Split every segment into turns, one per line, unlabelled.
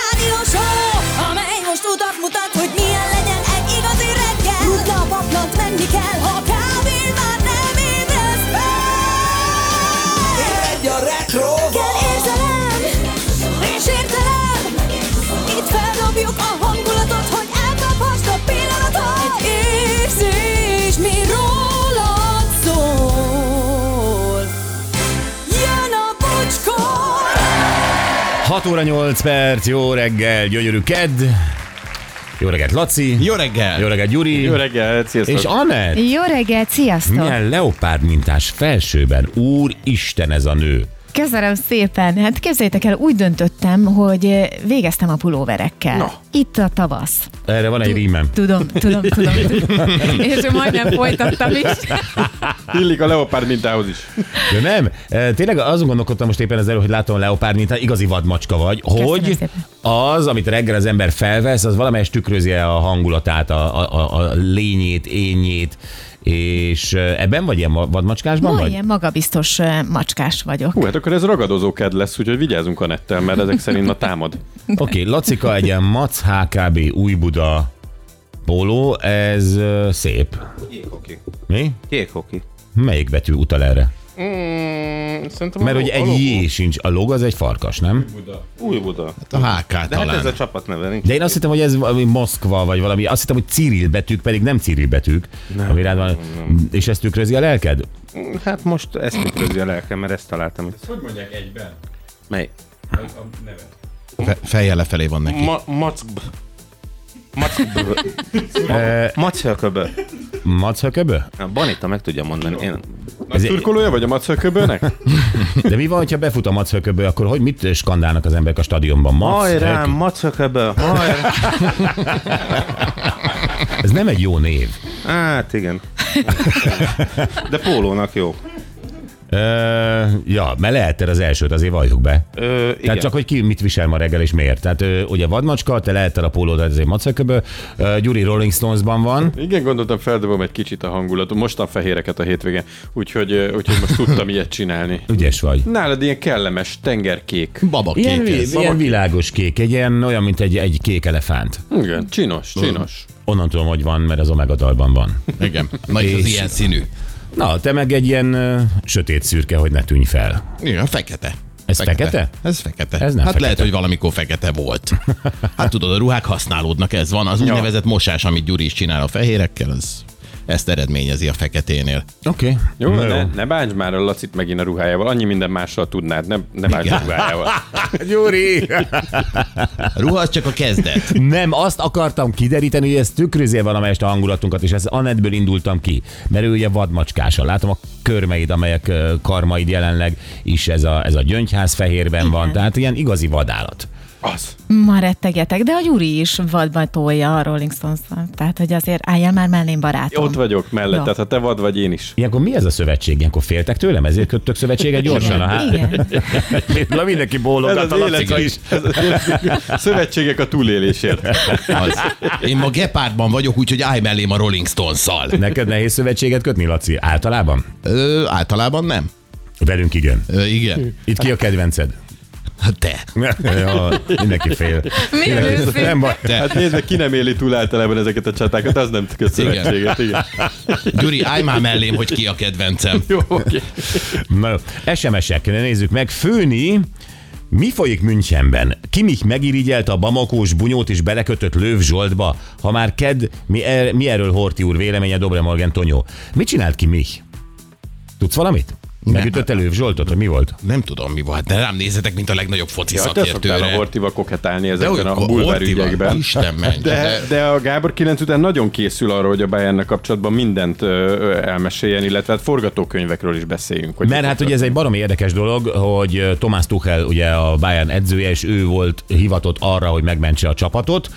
rádió show, amely most utat mutat, hogy milyen legyen egy igazi reggel. Rutna a paplant, menni kell, ha kávén már nem ébredsz fel.
Egy a retro
Kell érzelem, és értelem, itt feldobjuk a hangulatot, hogy elkaphast a pillanatot. Egy érzés, mi rólad szól. Jön a bocskor!
6 óra 8 perc, jó reggel, gyönyörű kedd. Jó reggelt, Laci.
Jó reggel!
Jó reggelt, Gyuri.
Jó reggel, sziasztok!
És Anett.
Jó reggelt, sziasztok!
Milyen leopárd mintás felsőben. Úristen ez a nő.
Köszönöm szépen! Hát képzeljétek el, úgy döntöttem, hogy eh, végeztem a pulóverekkel.
Na.
Itt a tavasz.
Erre van egy rímem.
Tudom, tudom, tudom. tudom. És majdnem folytattam is.
Illik a leopárd mintához is.
Ja, nem? E, Tényleg azon gondolkodtam most éppen ezzel, hogy látom a leopárd mintát, igazi vadmacska vagy, hogy
szépen.
az, amit reggel az ember felvesz, az valamelyest tükrözi a hangulatát, a, a, a, a lényét, énjét, és e, ebben vagy ilyen ma- vadmacskásban
Ma
vagy?
ilyen magabiztos eh, macskás vagyok.
Hú, hát akkor ez ragadozó ked lesz, úgyhogy vigyázzunk a nettel, mert ezek szerint ma támad.
Oké, okay, Lacika egy ilyen Mac HKB Újbuda póló, ez ö, szép.
Kék-hoki.
Mi?
Kék-hoki.
Melyik betű utal erre?
Mm, szerintem
Mert hogy egy J sincs, a log az egy farkas, nem?
Új Buda.
A HK De
De hát ez
talán.
a csapatneve, nincs.
De én azt hittem, hogy ez valami Moszkva, vagy valami, azt hittem, hogy Cyril betűk, pedig nem Cyril betűk, nem, ami rád van, és ezt tükrözi a lelked?
Hát most ezt tükrözi a lelkem, mert ezt találtam itt.
Hogy mondják egyben
Mely?
a nevet?
Fe- fejjel lefelé van neki.
Ma- Mackb. Mackb. Mackb.
Mac Hököbö?
Banita meg tudja mondani. Én...
Ez turkolója vagy a macököbőnek?
De mi van, ha befut a Mac Hököbö, akkor hogy mit skandálnak az emberek a stadionban? Mac
Hajrá,
Hök-
Mackb. Hajrá.
Ez nem egy jó név.
Hát igen. De pólónak jó.
Ö, ja, mert lehetted az elsőt, azért valljuk be.
Ö, igen.
Tehát csak, hogy ki mit visel ma reggel és miért. Tehát ö, ugye vadmacska, te lehettél a pólódat, ezért maceköbö, ö, Gyuri Rolling Stonesban van.
Igen, gondoltam, feldobom egy kicsit a hangulatot. Mostan fehéreket a hétvégén, úgyhogy, ö, úgyhogy most tudtam ilyet csinálni.
Ügyes vagy.
Nálad ilyen kellemes tengerkék.
Baba
Ilyen,
kék ez.
vi- ilyen világos kék, egy ilyen olyan, mint egy, egy kék elefánt.
Igen, csinos, csinos.
Onnan tudom, hogy van, mert az Omega dalban van.
Igen. Na és az ilyen színű.
Na, te meg egy ilyen ö, sötét szürke, hogy ne tűnj fel.
Igen, fekete.
Ez fekete?
Ez fekete.
Ez nem
hát
fekete.
lehet, hogy valamikor fekete volt. Hát tudod, a ruhák használódnak, ez van. Az úgynevezett mosás, amit Gyuri is csinál a fehérekkel, az ezt eredményezi a feketénél.
Oké. Okay.
Jó, ne, ne bánts már a Lacit megint a ruhájával, annyi minden mással tudnád, ne, ne bánts a ruhájával.
Gyuri!
A ruha az csak a kezdet.
Nem, azt akartam kideríteni, hogy ez tükrözi valamelyest a hangulatunkat, és ez Anettből indultam ki, mert ő ugye vadmacskása. Látom a körmeid, amelyek ö, karmaid jelenleg is ez a, ez a gyöngyház fehérben van, tehát ilyen igazi vadállat.
Az.
Ma rettegetek, de a Gyuri is vadban tolja a Rolling stones Tehát, hogy azért álljál már mellém, barátom.
Ott vagyok mellette,
Jó.
tehát ha te vad vagy, én is.
Ilyenkor mi ez a szövetség? Ilyenkor féltek tőlem? Ezért köttök szövetséget gyorsan? a há-
Igen.
Na mindenki bólogat, a Laci is.
ez az élet- Szövetségek a túlélésért. Hát
Az. Én ma gepárdban vagyok, úgyhogy állj mellém a Rolling Stones-szal.
Neked nehéz szövetséget kötni, Laci? Általában?
Ö, általában nem.
Velünk igen.
Ö, igen.
Itt ki a kedvenced?
Hát Te.
Jó, mindenki fél.
Mi az
Nem baj.
Hát nézd meg, ki nem éli túl általában ezeket a csatákat, az nem köt szövetséget. Igen.
Gyuri, állj már mellém, hogy ki a kedvencem.
Jó, oké.
Na jó, SMS-ek, nézzük meg. Főni, mi folyik Münchenben? Kimik megirigyelt a bamakós bunyót és belekötött Lőv Zsoltba? Ha már ked, mi, er, mi erről Horti úr véleménye Dobre Morgan Tonyó? Mit csinált ki mi? Tudsz valamit? Megütötte Lőv Zsoltot, hogy mi volt?
Nem tudom, mi volt, de rám nézzetek, mint a legnagyobb foci
Ja, te hát szoktál a
szakértőre.
Hortival koketálni
De
ezekben
olyan
a
bulvár
bulvár ügyekben.
Isten menj.
De,
De...
de a Gábor 9 után nagyon készül arra, hogy a Bayernnek kapcsolatban mindent ö, ö, elmeséljen, illetve hát forgatókönyvekről is beszéljünk. Hogy
Mert hát ugye ez egy baromi érdekes dolog, hogy Tomás Tuchel ugye a Bayern edzője, és ő volt hivatott arra, hogy megmentse a csapatot.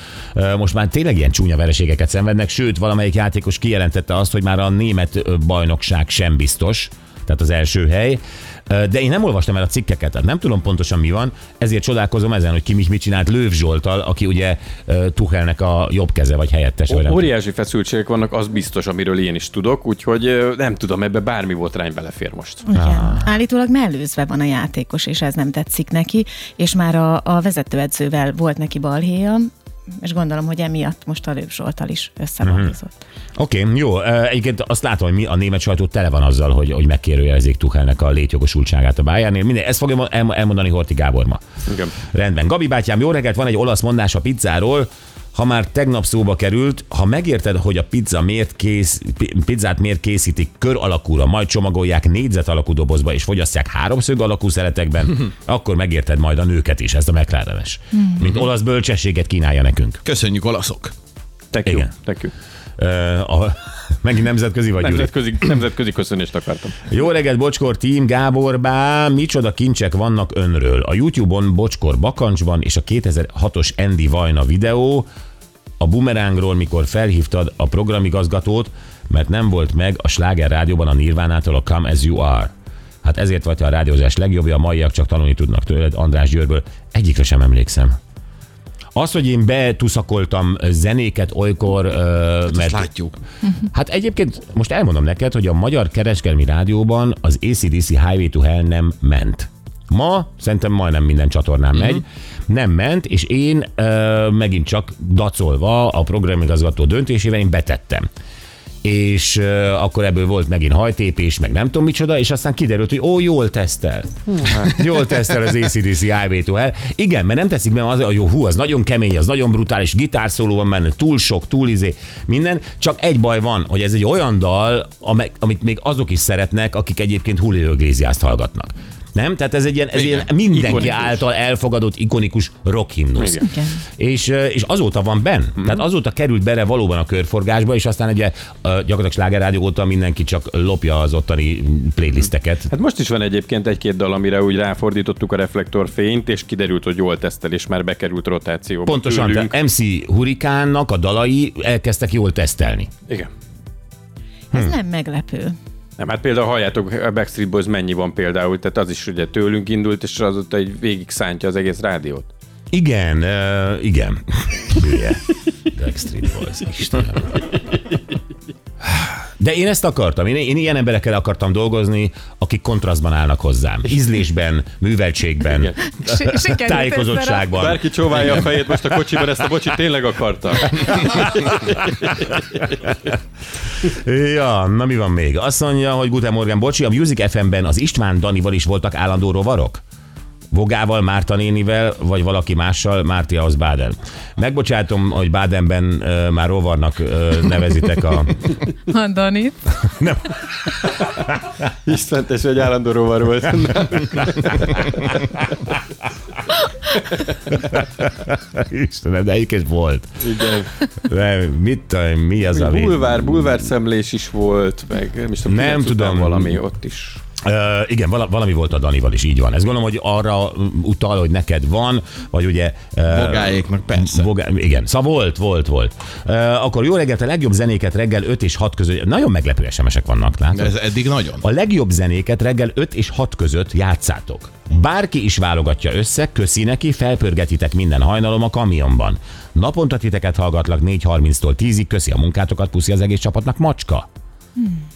Most már tényleg ilyen csúnya vereségeket szenvednek, sőt valamelyik játékos kijelentette azt, hogy már a német bajnokság sem biztos. tehát az első hely. Ö, De én nem olvastam el a cikkeket, tehát nem tudom pontosan mi van, ezért csodálkozom ezen, hogy Kimich mit csinált Lőv Zsoltal, aki ugye ö, Tuchelnek a jobb keze, vagy helyettes, vagy nem tudom.
Óriási feszültségek vannak, az biztos, amiről én is tudok, úgyhogy ö, nem tudom, ebbe bármi volt rány belefér most.
Ah.
Igen. Állítólag mellőzve van a játékos, és ez nem tetszik neki, és már a, a vezetőedzővel volt neki balhéja, és gondolom, hogy emiatt most a Lőbb Zsoltal is összebalhézott.
Oké, okay, jó. Ö, Egyébként azt látom, hogy mi a német sajtó tele van azzal, hogy, hogy megkérőjelezik Tuchelnek a létjogosultságát a Bayernnél. Minden, ezt fogja el- elmondani Horti Gábor ma.
Igen.
Rendben. Gabi bátyám, jó reggelt, van egy olasz mondás a pizzáról. Ha már tegnap szóba került, ha megérted, hogy a pizza miért kész, pi- pizzát miért készítik kör alakúra, majd csomagolják négyzet alakú dobozba és fogyasztják háromszög alakú szeletekben, akkor megérted majd a nőket is, ezt a McLaren-es. Mint olasz bölcsességet kínálja nekünk.
Köszönjük, olaszok.
Tek jó,
Igen.
tek jó.
Ö, a, megint nemzetközi vagy, Gyuri?
Nemzetközi, nemzetközi köszönést akartam.
Jó reggelt, Bocskor Team, Gábor Bá, micsoda kincsek vannak önről. A YouTube-on Bocskor Bakancsban és a 2006-os Andy Vajna videó, a bumerángról, mikor felhívtad a programigazgatót, mert nem volt meg a Sláger Rádióban a Nirvánától a Come As You Are. Hát ezért vagy te a rádiózás legjobbja, a maiak csak tanulni tudnak tőled, András Győrből. Egyikre sem emlékszem. Az, hogy én betuszakoltam zenéket olykor, ö,
Ezt
mert
látjuk.
Hát egyébként most elmondom neked, hogy a Magyar Kereskedelmi Rádióban az ACDC Highway to Hell nem ment. Ma szerintem majdnem minden csatornán megy. Nem ment, és én ö, megint csak dacolva a programigazgató döntésével én betettem. És ö, akkor ebből volt megint hajtépés, meg nem tudom micsoda, és aztán kiderült, hogy ó, jól tesztel. jól tesztel az ACDC Highway to Hell. Igen, mert nem teszik be az, hogy jó, hú, az nagyon kemény, az nagyon brutális, gitárszóló van benne, túl sok, túl izé, minden. Csak egy baj van, hogy ez egy olyan dal, ame- amit még azok is szeretnek, akik egyébként Julio Iglesiast hallgatnak. Nem? Tehát ez egy ilyen, ez ilyen mindenki
Ikonikus.
által elfogadott ikonikus rockhimnusz.
Igen.
Igen.
És, ö, és azóta van benn. Mm. Tehát azóta került bele valóban a körforgásba, és aztán ugye ö, gyakorlatilag slágerrádió óta mindenki csak lopja az ottani playlisteket.
Hát most is van egyébként egy-két dal, amire úgy ráfordítottuk a reflektorfényt, és kiderült, hogy jól tesztel, és már bekerült rotációba.
Pontosan,
tőlünk.
de MC Hurikánnak a dalai elkezdtek jól tesztelni.
Igen.
Mhm.
Ez nem meglepő.
Nem, hát például halljátok, a Backstreet Boys mennyi van például, tehát az is ugye tőlünk indult, és azóta egy végig szántja az egész rádiót.
Igen, uh, igen. Hülye. Backstreet Boys, Istenem. De én ezt akartam. Én, én ilyen emberekkel akartam dolgozni, akik kontrasztban állnak hozzám. Ízlésben, műveltségben,
Igen.
Sikerült
tájékozottságban.
Bárki csóválja a fejét most a kocsiban, ezt a bocsit tényleg akarta.
Ja, na mi van még? Azt mondja, hogy Guten Morgan, bocsi, a Music FM-ben az István Danival is voltak állandó rovarok? Vogával, Márta nénivel, vagy valaki mással, Márti az Báden. Megbocsátom, hogy Bádenben ö, már rovarnak ö, nevezitek a...
Mondani.
Isten, és egy állandó rovar volt.
Istenem, de egyébként volt.
Igen.
De mit, tudom, mi az a vég-
Bulvár, bulvár szemlés is volt, meg nem is tudom,
Nem
kilenc
tudom.
után valami ott is.
Ö, igen, vala, valami volt a Danival is, így van. Ez gondolom, hogy arra utal, hogy neked van, vagy ugye... ö,
Bogáéknak persze.
Bogá... Igen, szóval volt, volt, volt. Ö, akkor jó reggelt, a legjobb zenéket reggel 5 és 6 között, nagyon meglepő SMS-ek vannak,
De
látod?
ez eddig nagyon.
A legjobb zenéket reggel 5 és 6 között játszátok. Bárki is válogatja össze, köszi neki, felpörgetitek minden hajnalom a kamionban. Naponta titeket hallgatlak 4.30-tól 10-ig, köszi a munkátokat, puszi az egész csapatnak, macska.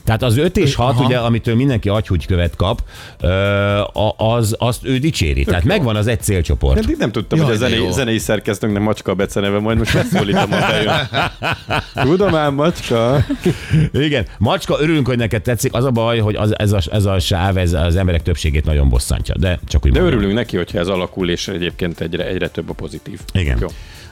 Tehát az 5 és 6, ugye, amitől mindenki agyhúgykövet kap, ö, a- az, azt ő dicséri. Tehát megvan az egy célcsoport.
Eddig nem tudtam,
Jaj,
hogy a
de
zenei,
jó.
zenei szerkesztőnknek macska a beceneve, majd most megszólítom, ha bejön. Tudom ám, macska.
Igen, macska, örülünk, hogy neked tetszik. Az a baj, hogy az, ez, a, ez a sáv ez az emberek többségét nagyon bosszantja. De csak úgy
De
mondom.
örülünk neki, hogyha ez alakul, és egyébként egyre, egyre több a pozitív.
Igen.
Jó.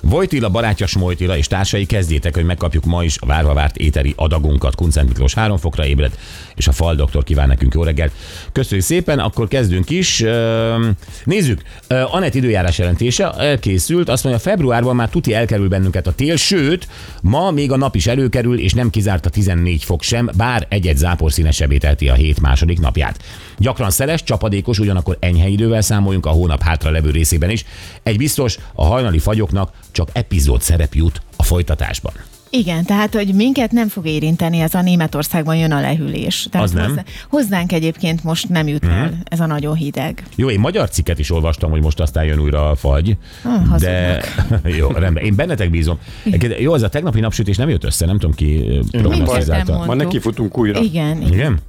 Vojtila, barátja Smojtila és társai kezdjétek, hogy megkapjuk ma is a várva várt éteri adagunkat. Kuncent Miklós három fokra ébred, és a fal doktor kíván nekünk jó reggelt. Köszönjük szépen, akkor kezdünk is. Öm, Nézzük, Ö, Anett időjárás jelentése elkészült, azt mondja, februárban már tuti elkerül bennünket a tél, sőt, ma még a nap is előkerül, és nem kizárt a 14 fok sem, bár egy-egy zápor színesebbé teheti a hét második napját. Gyakran szeles, csapadékos, ugyanakkor enyhe idővel számoljunk a hónap hátra levő részében is. Egy biztos, a hajnali fagyoknak csak epizód szerep jut a folytatásban.
Igen, tehát, hogy minket nem fog érinteni ez a Németországban jön a lehűlés. Tehát
Az nem. Mhm.
hozzá- Hozzánk egyébként most nem jut el ez a nagyon hideg.
Jó, én magyar cikket is olvastam, hogy most aztán jön újra a fagy.
Ah,
de jó, rendben. Én bennetek bízom. Egyébként Jó, az a tegnapi napsütés nem jött össze, nem tudom ki ö,
Mindketten
prognosztizálta.
mondtuk.
Ma neki futunk újra.
Igen, igen.
Igen?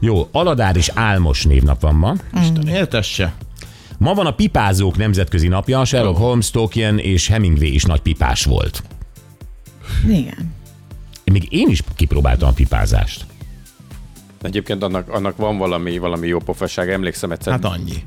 Jó, Aladár és Álmos névnap van ma.
Isten éltesse.
Ma van a pipázók nemzetközi napja, Sherlock Holmes, Tolkien és Hemingway is nagy pipás volt.
igen.
Még én is kipróbáltam a pipázást.
Egyébként annak, annak van valami, valami jó pofasság, emlékszem egyszer.
Hát annyi.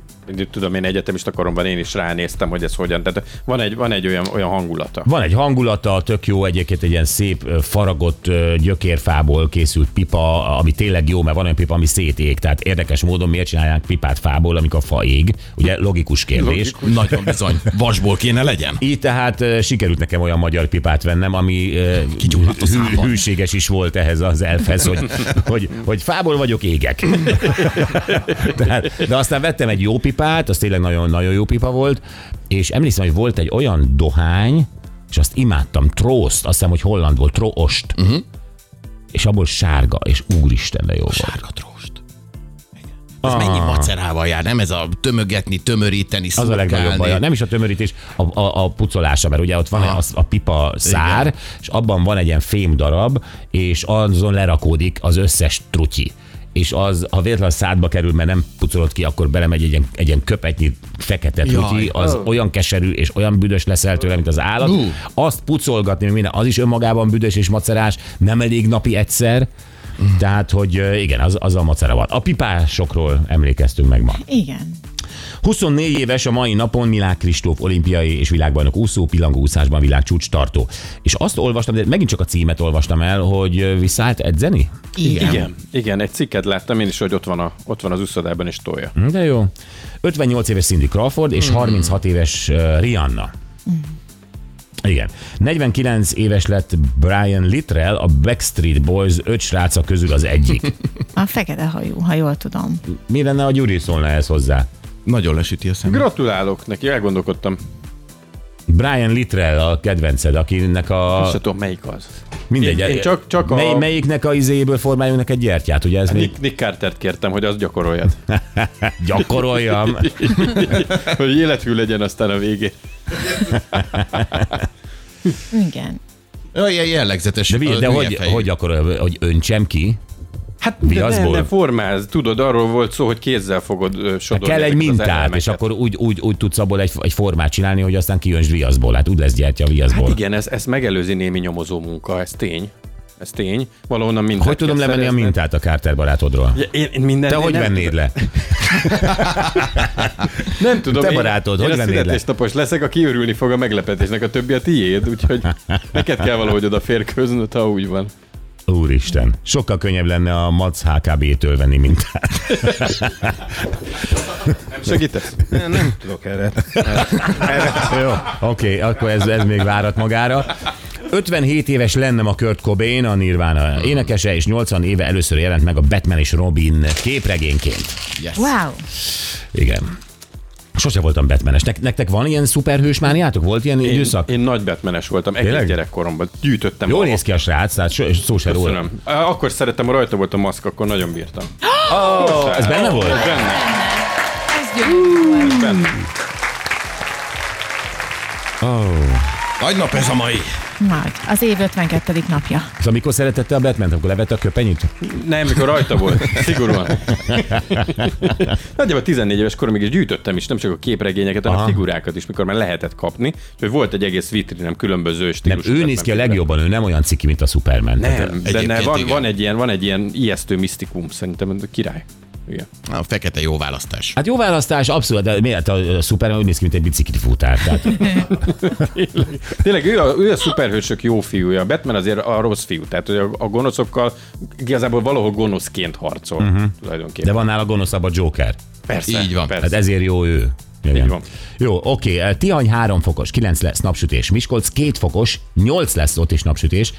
tudom, én egyetemista koromban én is ránéztem, hogy ez hogyan. Tehát van egy, van egy olyan, olyan hangulata.
Van egy hangulata, tök jó egyébként egy ilyen szép ö, faragott ö, gyökérfából készült pipa, ami tényleg jó, mert van olyan pipa, ami szétég. Tehát érdekes módon miért csinálják pipát fából, amikor a fa ég. Ugye logikus kérdés.
Nagyon bizony. Vasból kéne legyen.
Így tehát ö, sikerült nekem olyan magyar pipát vennem, ami ö,
Kigyulladt a szában.
hűséges is volt ehhez az elfhez, hogy, hogy, hogy fából vagyok égek. tehát, de aztán vettem egy jó pipát, az tényleg nagyon-nagyon jó pipa volt, és emlékszem, hogy volt egy olyan dohány, és azt imádtam, trószt, azt hiszem, hogy holland volt, troost, uh-huh. és abból sárga, és úristen, de jó volt.
Sárga tróst. Ah. Igen. Ez mennyi macerával jár, nem ez a tömögetni, tömöríteni,
Az a
szurkálni.
legnagyobb baj. Nem is a tömörítés, a, a, a pucolása, mert ugye ott van az, a pipa szár, Igen. és abban van egy ilyen fém darab, és azon lerakódik az összes trutyi. És az, ha véletlenül a szádba kerül, mert nem pucolod ki, akkor belemegy egy ilyen, egy ilyen köpetnyi fekete trutyi,
Jaj.
az olyan keserű és olyan büdös leszel tőle, mint az állat.
Hú.
Azt pucolgatni, meg minden, az is önmagában büdös és macerás, nem elég napi egyszer.
Mm.
Tehát, hogy ö, igen, az, az a macera van. A pipásokról emlékeztünk meg ma.
igen.
24 éves a mai napon Milák Kristóf olimpiai és világbajnok úszó, pillangóúszásban világcsúcs tartó. És azt olvastam, de megint csak a címet olvastam el, hogy ö, visszaállt edzeni?
Igen.
Igen, igen, egy cikket láttam én is, hogy ott van, a, ott van az üszodában és tolja.
De jó. 58 éves Cindy Crawford és 36 éves ö, Rihanna. Igen. 49 éves lett Brian Littrell, a Backstreet Boys öt sráca közül az egyik.
A fekete hajú, ha jól tudom.
Mi lenne, ha Gyuri szólna ehhez hozzá?
Nagyon lesüti a szemem.
Gratulálok neki, elgondolkodtam.
Brian Littrell a kedvenced, akinek a...
Azt se tudom, melyik az.
Mindegy.
Én- én csak- csak a- Hát
Mely, Melyiknek a izéből formáljon egy gyertyát, ugye ez még
Nick, Nick Cartert kértem, hogy azt gyakoroljad.
gyakoroljam.
hogy élethű legyen aztán a végén.
Igen.
Olyan jellegzetes.
De, mi,
ö,
de
milyen
hogy,
fejű.
hogy gyakoroljam, hogy öntsem ki?
Hát
Viaszból.
de, de formáz, tudod, arról volt szó, hogy kézzel fogod ö,
Hát
sodorni.
kell egy
ezeket az
mintát,
elemeket.
és akkor úgy, úgy, úgy tudsz abból egy, egy formát csinálni, hogy aztán kiöntsd viaszból. Hát úgy lesz gyertya a viaszból.
Hát igen, ez, ez megelőzi némi nyomozó munka, ez tény. Ez tény. Valahonnan mintát
hogy tudom
kell
levenni a
szerezni.
mintát a Carter barátodról?
Ja, Én, én minden,
Te
én
hogy
nem
vennéd le?
Nem tudom,
Te barátod,
én,
hogy
én a
vennéd le?
születésnapos leszek, aki örülni fog a meglepetésnek, a többi a tiéd, úgyhogy neked kell valahogy odaférkőznöd, ha úgy van.
Úristen, sokkal könnyebb lenne a Mac HKB-től venni mintát.
Nem segítesz?
Nem tudok erre.
Jó, oké, okay, akkor ez, ez még várat magára. 57 éves lennem a Kurt Cobain, a Nirvana énekese, és 80 éve először jelent meg a Batman és Robin képregényként.
Yes.
Wow.
Igen. Sose voltam Batmanes. Nek- nektek van ilyen szuperhős mániátok? Volt ilyen én,
Én,
időszak? Én,
én nagy Batmanes voltam egész
Tényleg?
gyerekkoromban. Gyűjtöttem.
Jól
a-
néz ki a srác, tehát so, szó se róla.
Köszönöm. Á, Akkor szerettem, ha rajta volt a maszk, akkor nagyon bírtam.
Ah,
Oh, ez benne volt?
Benne.
Ez gyönyörű volt.
Benne.
Nagy nap ez a mai.
Nagy. Az év 52. napja.
Szóval mikor szeretette a Batman-t, amikor levette a köpenyét?
Nem, mikor rajta volt, szigorúan. Nagyjából 14 éves koromig is gyűjtöttem is, nem csak a képregényeket, hanem figurákat is, mikor már lehetett kapni. Úgyhogy volt egy egész vitrinem különböző
Nem,
stílusú.
ő néz ki a legjobban, ő nem olyan ciki, mint a Superman. Tehát,
Nem, de ne,
Egyébként
van,
igen.
van, egy ilyen, van egy ilyen ijesztő misztikum, szerintem ez király. Igen.
A fekete jó választás.
Hát jó választás, abszolút, de miért a, a Superman úgy néz ki, mint egy bicikli futár. Tehát,
Tényleg ő a, ő a szuperhősök jó fiúja, a Batman azért a rossz fiú, tehát hogy a, a gonoszokkal igazából valahol gonoszként harcol uh-huh.
de
tulajdonképpen.
van nála gonoszabb a Joker.
persze,
Így van.
Hát
Persze.
ezért jó ő. Igen.
Így van.
Jó, oké, eh, Tihany 3 fokos, 9 lesz napsütés, Miskolc 2 fokos, 8 lesz ott is napsütés.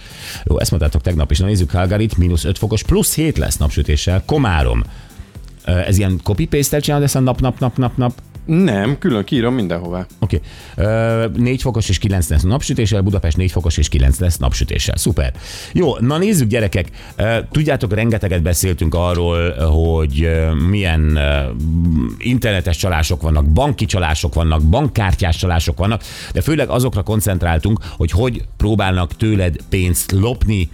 Jó, ezt mondtátok tegnap is, na nézzük Calgaryt, mínusz 5 fokos, plusz 7 lesz napsütéssel, Komárom. Eh, Ez ilyen copy-paste-tel csinálod ezt a nap, nap, nap, nap, nap?
Nem, külön kiírom mindenhová.
Oké. Okay. 4 fokos és 9 lesz napsütéssel, Budapest 4 fokos és 9 lesz napsütéssel. Szuper. Jó, na nézzük gyerekek. Ö, Tudjátok, rengeteget beszéltünk arról, hogy ö, milyen ö, internetes csalások vannak, banki csalások vannak, bankkártyás csalások vannak, de főleg azokra koncentráltunk, hogy hogy próbálnak tőled pénzt lopni,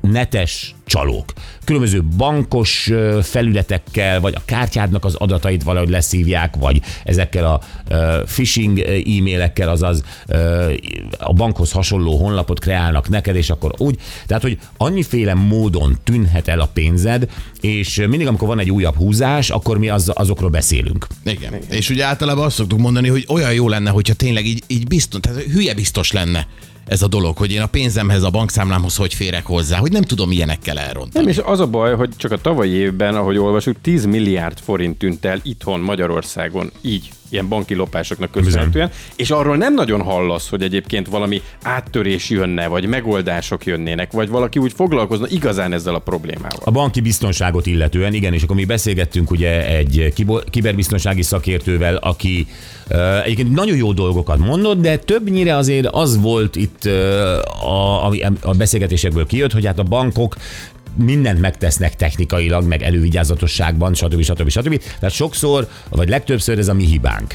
netes csalók. Különböző bankos ö, felületekkel, vagy a kártyádnak az adatait valahogy leszívják, vagy ezekkel a ö, phishing ö, e-mailekkel, azaz ö, a bankhoz hasonló honlapot kreálnak neked, és akkor úgy. Tehát, hogy annyiféle módon tűnhet el a pénzed, és mindig, amikor van egy újabb húzás, akkor mi az, azokról beszélünk.
Igen. Igen. És ugye általában azt szoktuk mondani, hogy olyan jó lenne, hogyha tényleg így, így biztos, tehát hülye biztos lenne ez a dolog, hogy én a pénzemhez, a bankszámlámhoz hogy férek hozzá, hogy nem tudom ilyenekkel elrontani.
Nem, és az a baj, hogy csak a tavalyi évben, ahogy olvasjuk, 10 milliárd forint tűnt el itthon Magyarországon így ilyen banki lopásoknak köszönhetően, és arról nem nagyon hallasz, hogy egyébként valami áttörés jönne, vagy megoldások jönnének, vagy valaki úgy foglalkozna igazán ezzel a problémával.
A banki biztonságot illetően, igen, és akkor mi beszélgettünk ugye egy kibo- kiberbiztonsági szakértővel, aki ö, egyébként nagyon jó dolgokat mondott, de többnyire azért az volt itt ö, a, ami a beszélgetésekből kijött, hogy hát a bankok mindent megtesznek technikailag, meg elővigyázatosságban, stb. stb. stb. Tehát sokszor, vagy legtöbbször ez a mi hibánk.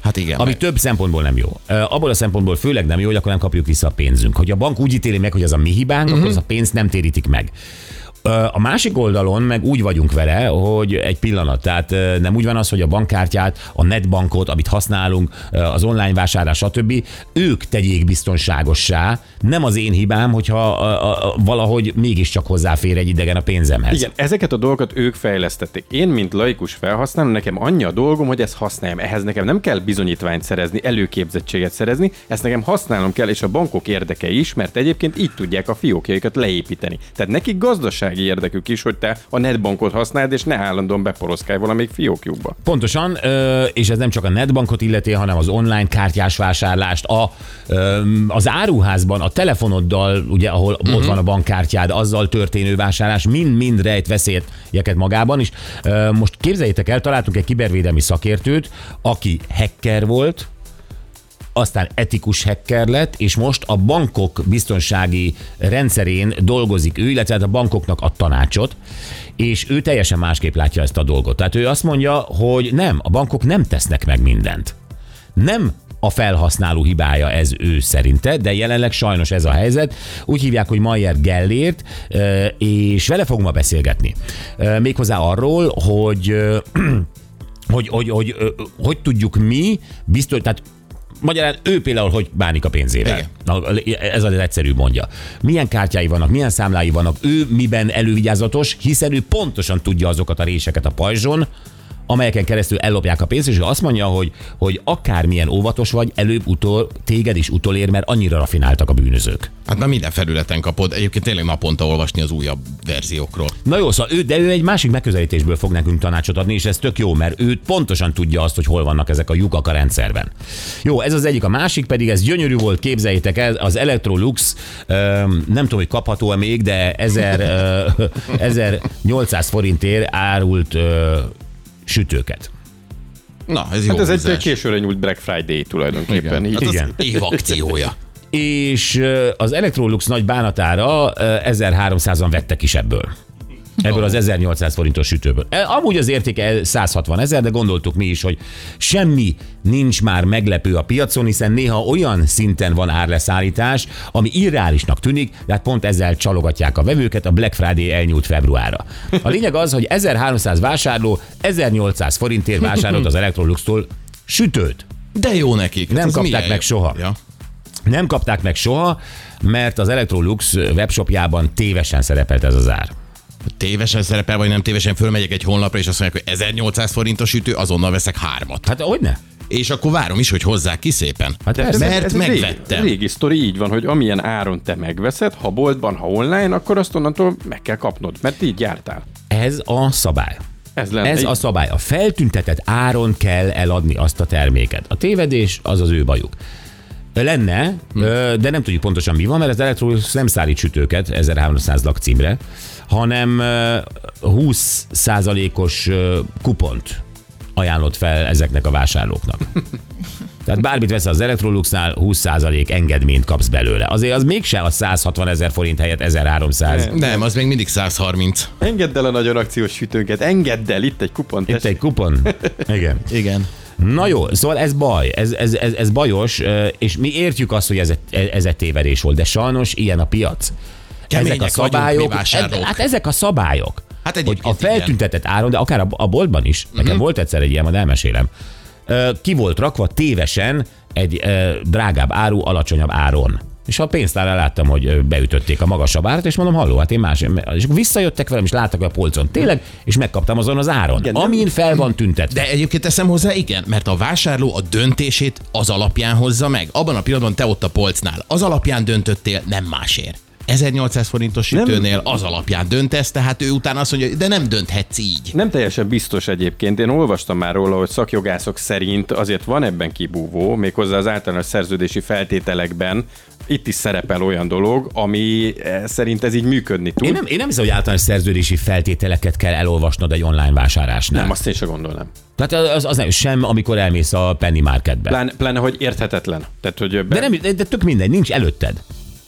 Hát igen.
Ami
Amit...
több szempontból nem jó. Ö, Abból a szempontból főleg nem jó, hogy akkor nem kapjuk vissza a pénzünk. Hogy a bank úgy ítéli meg, hogy az a mi hibánk, uh-huh. akkor az a pénzt nem térítik meg. Ö, A másik oldalon meg úgy vagyunk vele, hogy egy pillanat, tehát ö, nem úgy van az, hogy a bankkártyát, a netbankot, amit használunk, ö, az online vásárlás, stb. ők tegyék biztonságossá, nem az én hibám, hogyha ö, ö, ö, valahogy mégiscsak hozzáfér egy idegen a pénzemhez.
Igen, ezeket a dolgokat ők fejlesztették. Én, mint laikus felhasználó, nekem annyi a dolgom, hogy ezt használjam. Ehhez nekem nem kell bizonyítványt szerezni, előképzettséget szerezni, ezt nekem használnom kell, és a bankok érdeke is, mert egyébként így tudják a fiókjaikat leépíteni. Tehát nekik gazdasági érdekük is, hogy te a netbankot használd, és ne állandóan beporoszkálj valamelyik fiókjukba.
Pontosan, ö, és ez nem csak a netbankot illeti, hanem az online kártyás vásárlást, a, ö, az áruházban a telefonoddal, ugye, ahol mm-hmm. ott van a bankkártyád, azzal történő vásárlás mind-mind rejt veszélyeket magában is. Ö, Most képzeljétek el, találtunk egy kibervédelmi szakértőt, aki hacker volt, aztán etikus hacker lett, és most a bankok biztonsági rendszerén dolgozik ő, illetve hát a bankoknak ad tanácsot, és ő teljesen másképp látja ezt a dolgot. Tehát ő azt mondja, hogy nem, a bankok nem tesznek meg mindent. Nem a felhasználó hibája ez ő szerinte, de jelenleg sajnos ez a helyzet. Úgy hívják, hogy Mayer Gellért, ö, és vele fogunk ma beszélgetni. Ö, Méghozzá arról, hogy ö, hogy, hogy, hogy, ö, hogy tudjuk mi biztos, tehát Magyarán ő például hogy bánik a pénzével.
Igen.
Na, ez a legegyszerűbb mondja. Milyen kártyái vannak, milyen számlái vannak, ő miben elővigyázatos, hiszen ő pontosan tudja azokat a réseket a pajzson, amelyeken keresztül ellopják a pénzt, és ő azt mondja, hogy, hogy akármilyen óvatos vagy, előbb-utol téged is utolér, mert annyira rafináltak a bűnözők.
Hát már minden felületen kapod. Egyébként tényleg naponta olvasni az újabb verziókról.
Na jó, szóval ő, de ő egy másik megközelítésből fog nekünk tanácsot adni, és ez tök jó, mert ő pontosan tudja azt, hogy hol vannak ezek a lyukak a rendszerben. Jó, ez az egyik, a másik pedig, ez gyönyörű volt, képzeljétek el, az Electrolux, öm, nem tudom, hogy kapható-e még, de 1000, ö, 1800 forintért árult ö, sütőket.
Na, ez jó
Hát ez egy
húzás.
későre nyúlt Black Friday tulajdonképpen.
Igen.
Így.
Hát az
Igen.
év akciója.
És ö, az Electrolux nagy bánatára ö, 1300-an vettek is ebből. Ebből az 1800 forintos sütőből. E, Amúgy az értéke 160 ezer, de gondoltuk mi is, hogy semmi nincs már meglepő a piacon, hiszen néha olyan szinten van árleszállítás, ami irreálisnak tűnik, de hát pont ezzel csalogatják a vevőket a Black Friday elnyúlt februárra. A lényeg az, hogy 1300 vásárló 1800 forintért vásárolt az Electroluxtól sütőt.
De jó nekik. Hát
Nem
ez
kapták
milyen
meg
jó.
soha.
Ja.
Nem kapták meg soha, mert az Electrolux webshopjában tévesen szerepelt ez az ár.
Tévesen szerepel, vagy nem tévesen, fölmegyek egy honlapra, és azt mondják, hogy 1800 forintos ütő, azonnal veszek hármat.
Hát hogy ne?
És akkor várom is, hogy hozzák ki szépen.
Hát
ez,
persze.
mert ez
egy régi-
megvettem.
régi sztori így van, hogy amilyen áron te megveszed, ha boltban, ha online, akkor azt onnantól meg kell kapnod, mert így jártál.
Ez a szabály.
Ez lenne.
Ez
így.
a szabály. A feltüntetett áron kell eladni azt a terméket. A tévedés az az ő bajuk. Lenne, ö, de nem tudjuk pontosan mi van, mert az Electrolux nem szállít sütőket 1300 lakcímre, hanem ö, 20%-os ö, kupont ajánlott fel ezeknek a vásárlóknak. Tehát bármit veszel az Electroluxnál, 20% engedményt kapsz belőle. Azért az mégsem a 160 ezer forint helyett 1300.
Nem, az még mindig 130.
Engedd el a nagyon akciós sütőnket, engedd el, itt egy kupon.
Itt egy kupon. Igen.
Igen.
Na jó, szóval ez baj, ez, ez, ez, ez bajos, ö, és mi értjük azt, hogy ez, ez egy tévedés volt, de sajnos ilyen a piac.
Kemények vagyunk mi vásárlók.
ed- hát ezek a szabályok.
Hát
hogy
egyébként Mhm.
a feltüntetett áron, de akár a, a boltban is, nekem uh-huh. volt egyszer egy ilyen, majd elmesélem, Ö, ki volt rakva tévesen egy ö, drágább áru, alacsonyabb áron. És a pénztárnál láttam, hogy ö, beütötték a magasabb árat, és mondom, halló, hát én más. És akkor visszajöttek velem, és láttak a polcon tényleg, és megkaptam azon az áron, Igen,
nem-
amin fel van tüntetve.
De egyébként teszem hozzá, igen, mert a vásárló a döntését az alapján hozza meg. Abban a pillanatban te ott a polcnál. Az alapján döntöttél, nem másért. 1800 forintos sütőnél az alapján döntesz, tehát ő utána azt mondja, de nem dönthetsz így.
Nem teljesen biztos egyébként. Én olvastam már róla, hogy szakjogászok szerint azért van ebben kibúvó, méghozzá az általános szerződési feltételekben itt is szerepel olyan dolog, ami eh, szerint ez így működni tud.
Én nem, én nem hiszem, hogy általános szerződési feltételeket kell elolvasnod egy online vásárlásnál.
nem,
Nem.
azt én sem gondolnám.
Tehát az, az nem, sem, amikor elmész a Penny Marketbe.
Pláne, pláne hogy érthetetlen. Tehát, hogy be...
De, nem, de, de tök mindegy, nincs előtted.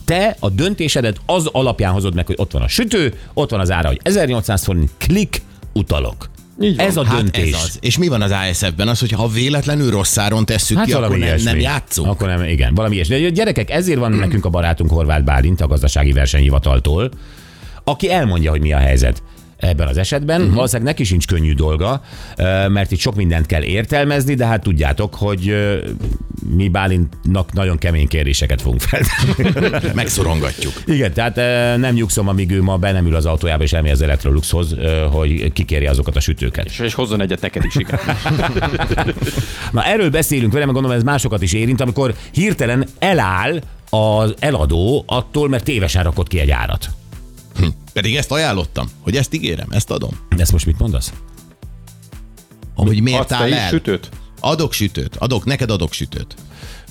Te a döntésedet az alapján hozod meg, hogy ott van a sütő, ott van az ára, hogy 1800 forint, klik, utalok.
Így van.
Ez a
Hát
döntés.
ez az. És mi van az ASF-ben? Az, hogy ha véletlenül rossz áron tesszük
Hát
ki,
valami
akkor nem,
ilyesmi.
nem játszunk.
Akkor nem, igen, valami ilyesmi. De gyerekek, ezért van nekünk a barátunk Horváth Bálint, a gazdasági versenyhivataltól, aki elmondja, hogy mi a helyzet ebben az esetben.
Mhm.
Uh-huh. Valószínűleg neki sincs könnyű dolga, ö, mert itt sok mindent kell értelmezni, de hát tudjátok, hogy ö, mi Bálintnak nagyon kemény kérdéseket fogunk feltenni.
Megszorongatjuk.
Igen, tehát ö, nem nyugszom, amíg ő ma be nem ül az autójába és elmegy az Electroluxhoz, ö, hogy kikéri azokat a sütőket.
És, és hozzon egyet neked is, igen.
Hát Na erről beszélünk vele, mert gondolom ez másokat is érint, amikor hirtelen eláll az eladó attól, mert tévesen rakott ki egy árat.
Pedig ezt ajánlottam, hogy ezt ígérem, ezt adom.
Ezt most mit mondasz?
Hogy miért
Adsz te
áll
is
el?
sütőt?
Adok sütőt, adok, neked adok sütőt.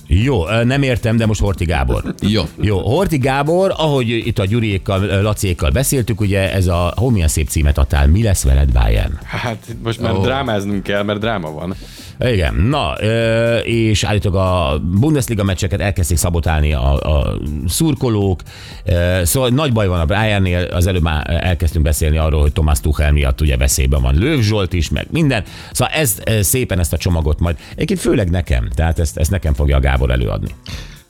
Jó, ö, nem értem, de most Horti Gábor.
Jó.
Jó, Horti Gábor, ahogy itt a Gyuriékkal, ö, Laciékkal beszéltük, ugye ez a, hol milyen szép címet adtál, mi lesz veled Bayern?
Hát itt most már
Ó.
oh. drámáznunk kell, mert dráma van.
Igen, na, ö, és állítólag a Bundesliga meccseket elkezdték szabotálni a, a szurkolók, ö, szóval nagy baj van a Bayernnél, az előbb már elkezdtünk beszélni arról, hogy Tomás Tuchel miatt ugye veszélyben van Löw Zsolt is, meg minden, szóval ez ö, szépen ezt a csomagot majd, egyébként főleg nekem, tehát ezt, ezt nekem fogja a Gábor előadni.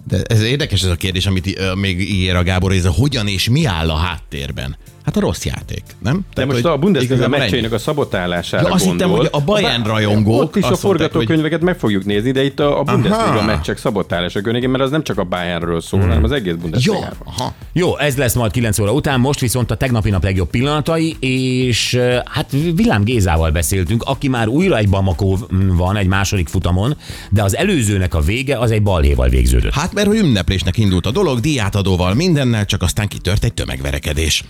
De ez érdekes ez a kérdés, amit ö, még ígér a Gábor, ez a hogyan és mi áll a háttérben. Hát a rossz játék, nem?
De
Tehát,
most
hogy
a Bundesliga
igazából ennyi.
meccsének a szabotálására
Ja, azt
gondol.
hittem, hogy a Bayern rajongók
Ott is a
azt mondták,
forgatókönyveket meg fogjuk nézni, de itt a, a Bundesliga
Aha.
meccsek szabotálása környékén, mert az nem csak a Bayernről szól, hanem az egész
Jó,
Bundesliga.
aha.
Jó, ez lesz majd 9 óra után, most viszont a tegnapi nap legjobb pillanatai, és eh, hát Vilám Gézával beszéltünk, aki már újra egy Bamako van egy második futamon, de az előzőnek a vége az egy balhéval végződött.
Hát mert hogy ünneplésnek indult a dolog, díjátadóval mindennel, csak aztán kitört egy tömegverekedés.